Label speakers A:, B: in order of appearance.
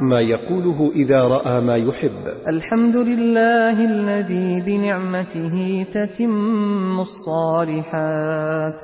A: ما يقوله إذا رأى ما يحب
B: الحمد لله الذي بنعمته تتم الصالحات